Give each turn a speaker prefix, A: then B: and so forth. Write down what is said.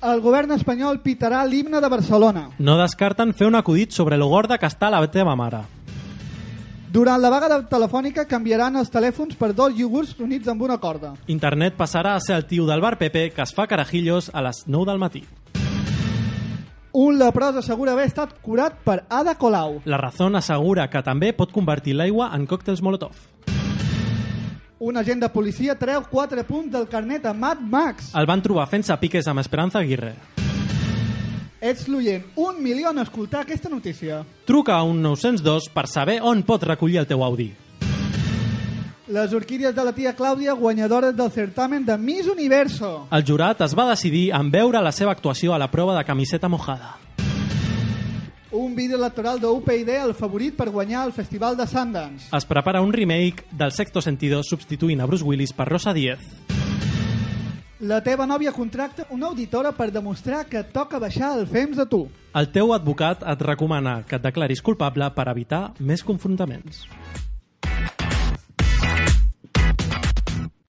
A: El govern espanyol pitarà l'himne de Barcelona.
B: No descarten fer un acudit sobre lo gorda que està la teva mare.
A: Durant la vaga de telefònica canviaran els telèfons per dos iogurts units amb una corda.
B: Internet passarà a ser el tio del bar Pepe que es fa carajillos a les 9 del matí.
A: Un leprós assegura haver estat curat per Ada Colau.
B: La Razón assegura que també pot convertir l'aigua en còctels Molotov.
A: Un agent de policia treu 4 punts del carnet a Mad Max.
B: El van trobar fent-se piques amb Esperanza Aguirre.
A: Ets l'oient, un milió en escoltar aquesta notícia.
B: Truca a un 902 per saber on pot recollir el teu Audi.
A: Les orquídies de la tia Clàudia, guanyadores del certamen de Miss Universo.
B: El jurat es va decidir en veure la seva actuació a la prova de camiseta mojada.
A: Un vídeo electoral d'UPyD el favorit per guanyar el Festival de Sundance.
B: Es prepara un remake del Sexto Sentido substituint a Bruce Willis per Rosa Diez.
A: La teva nòvia contracta una auditora per demostrar que toca baixar el fems de tu.
B: El teu advocat et recomana que et declaris culpable per evitar més confrontaments.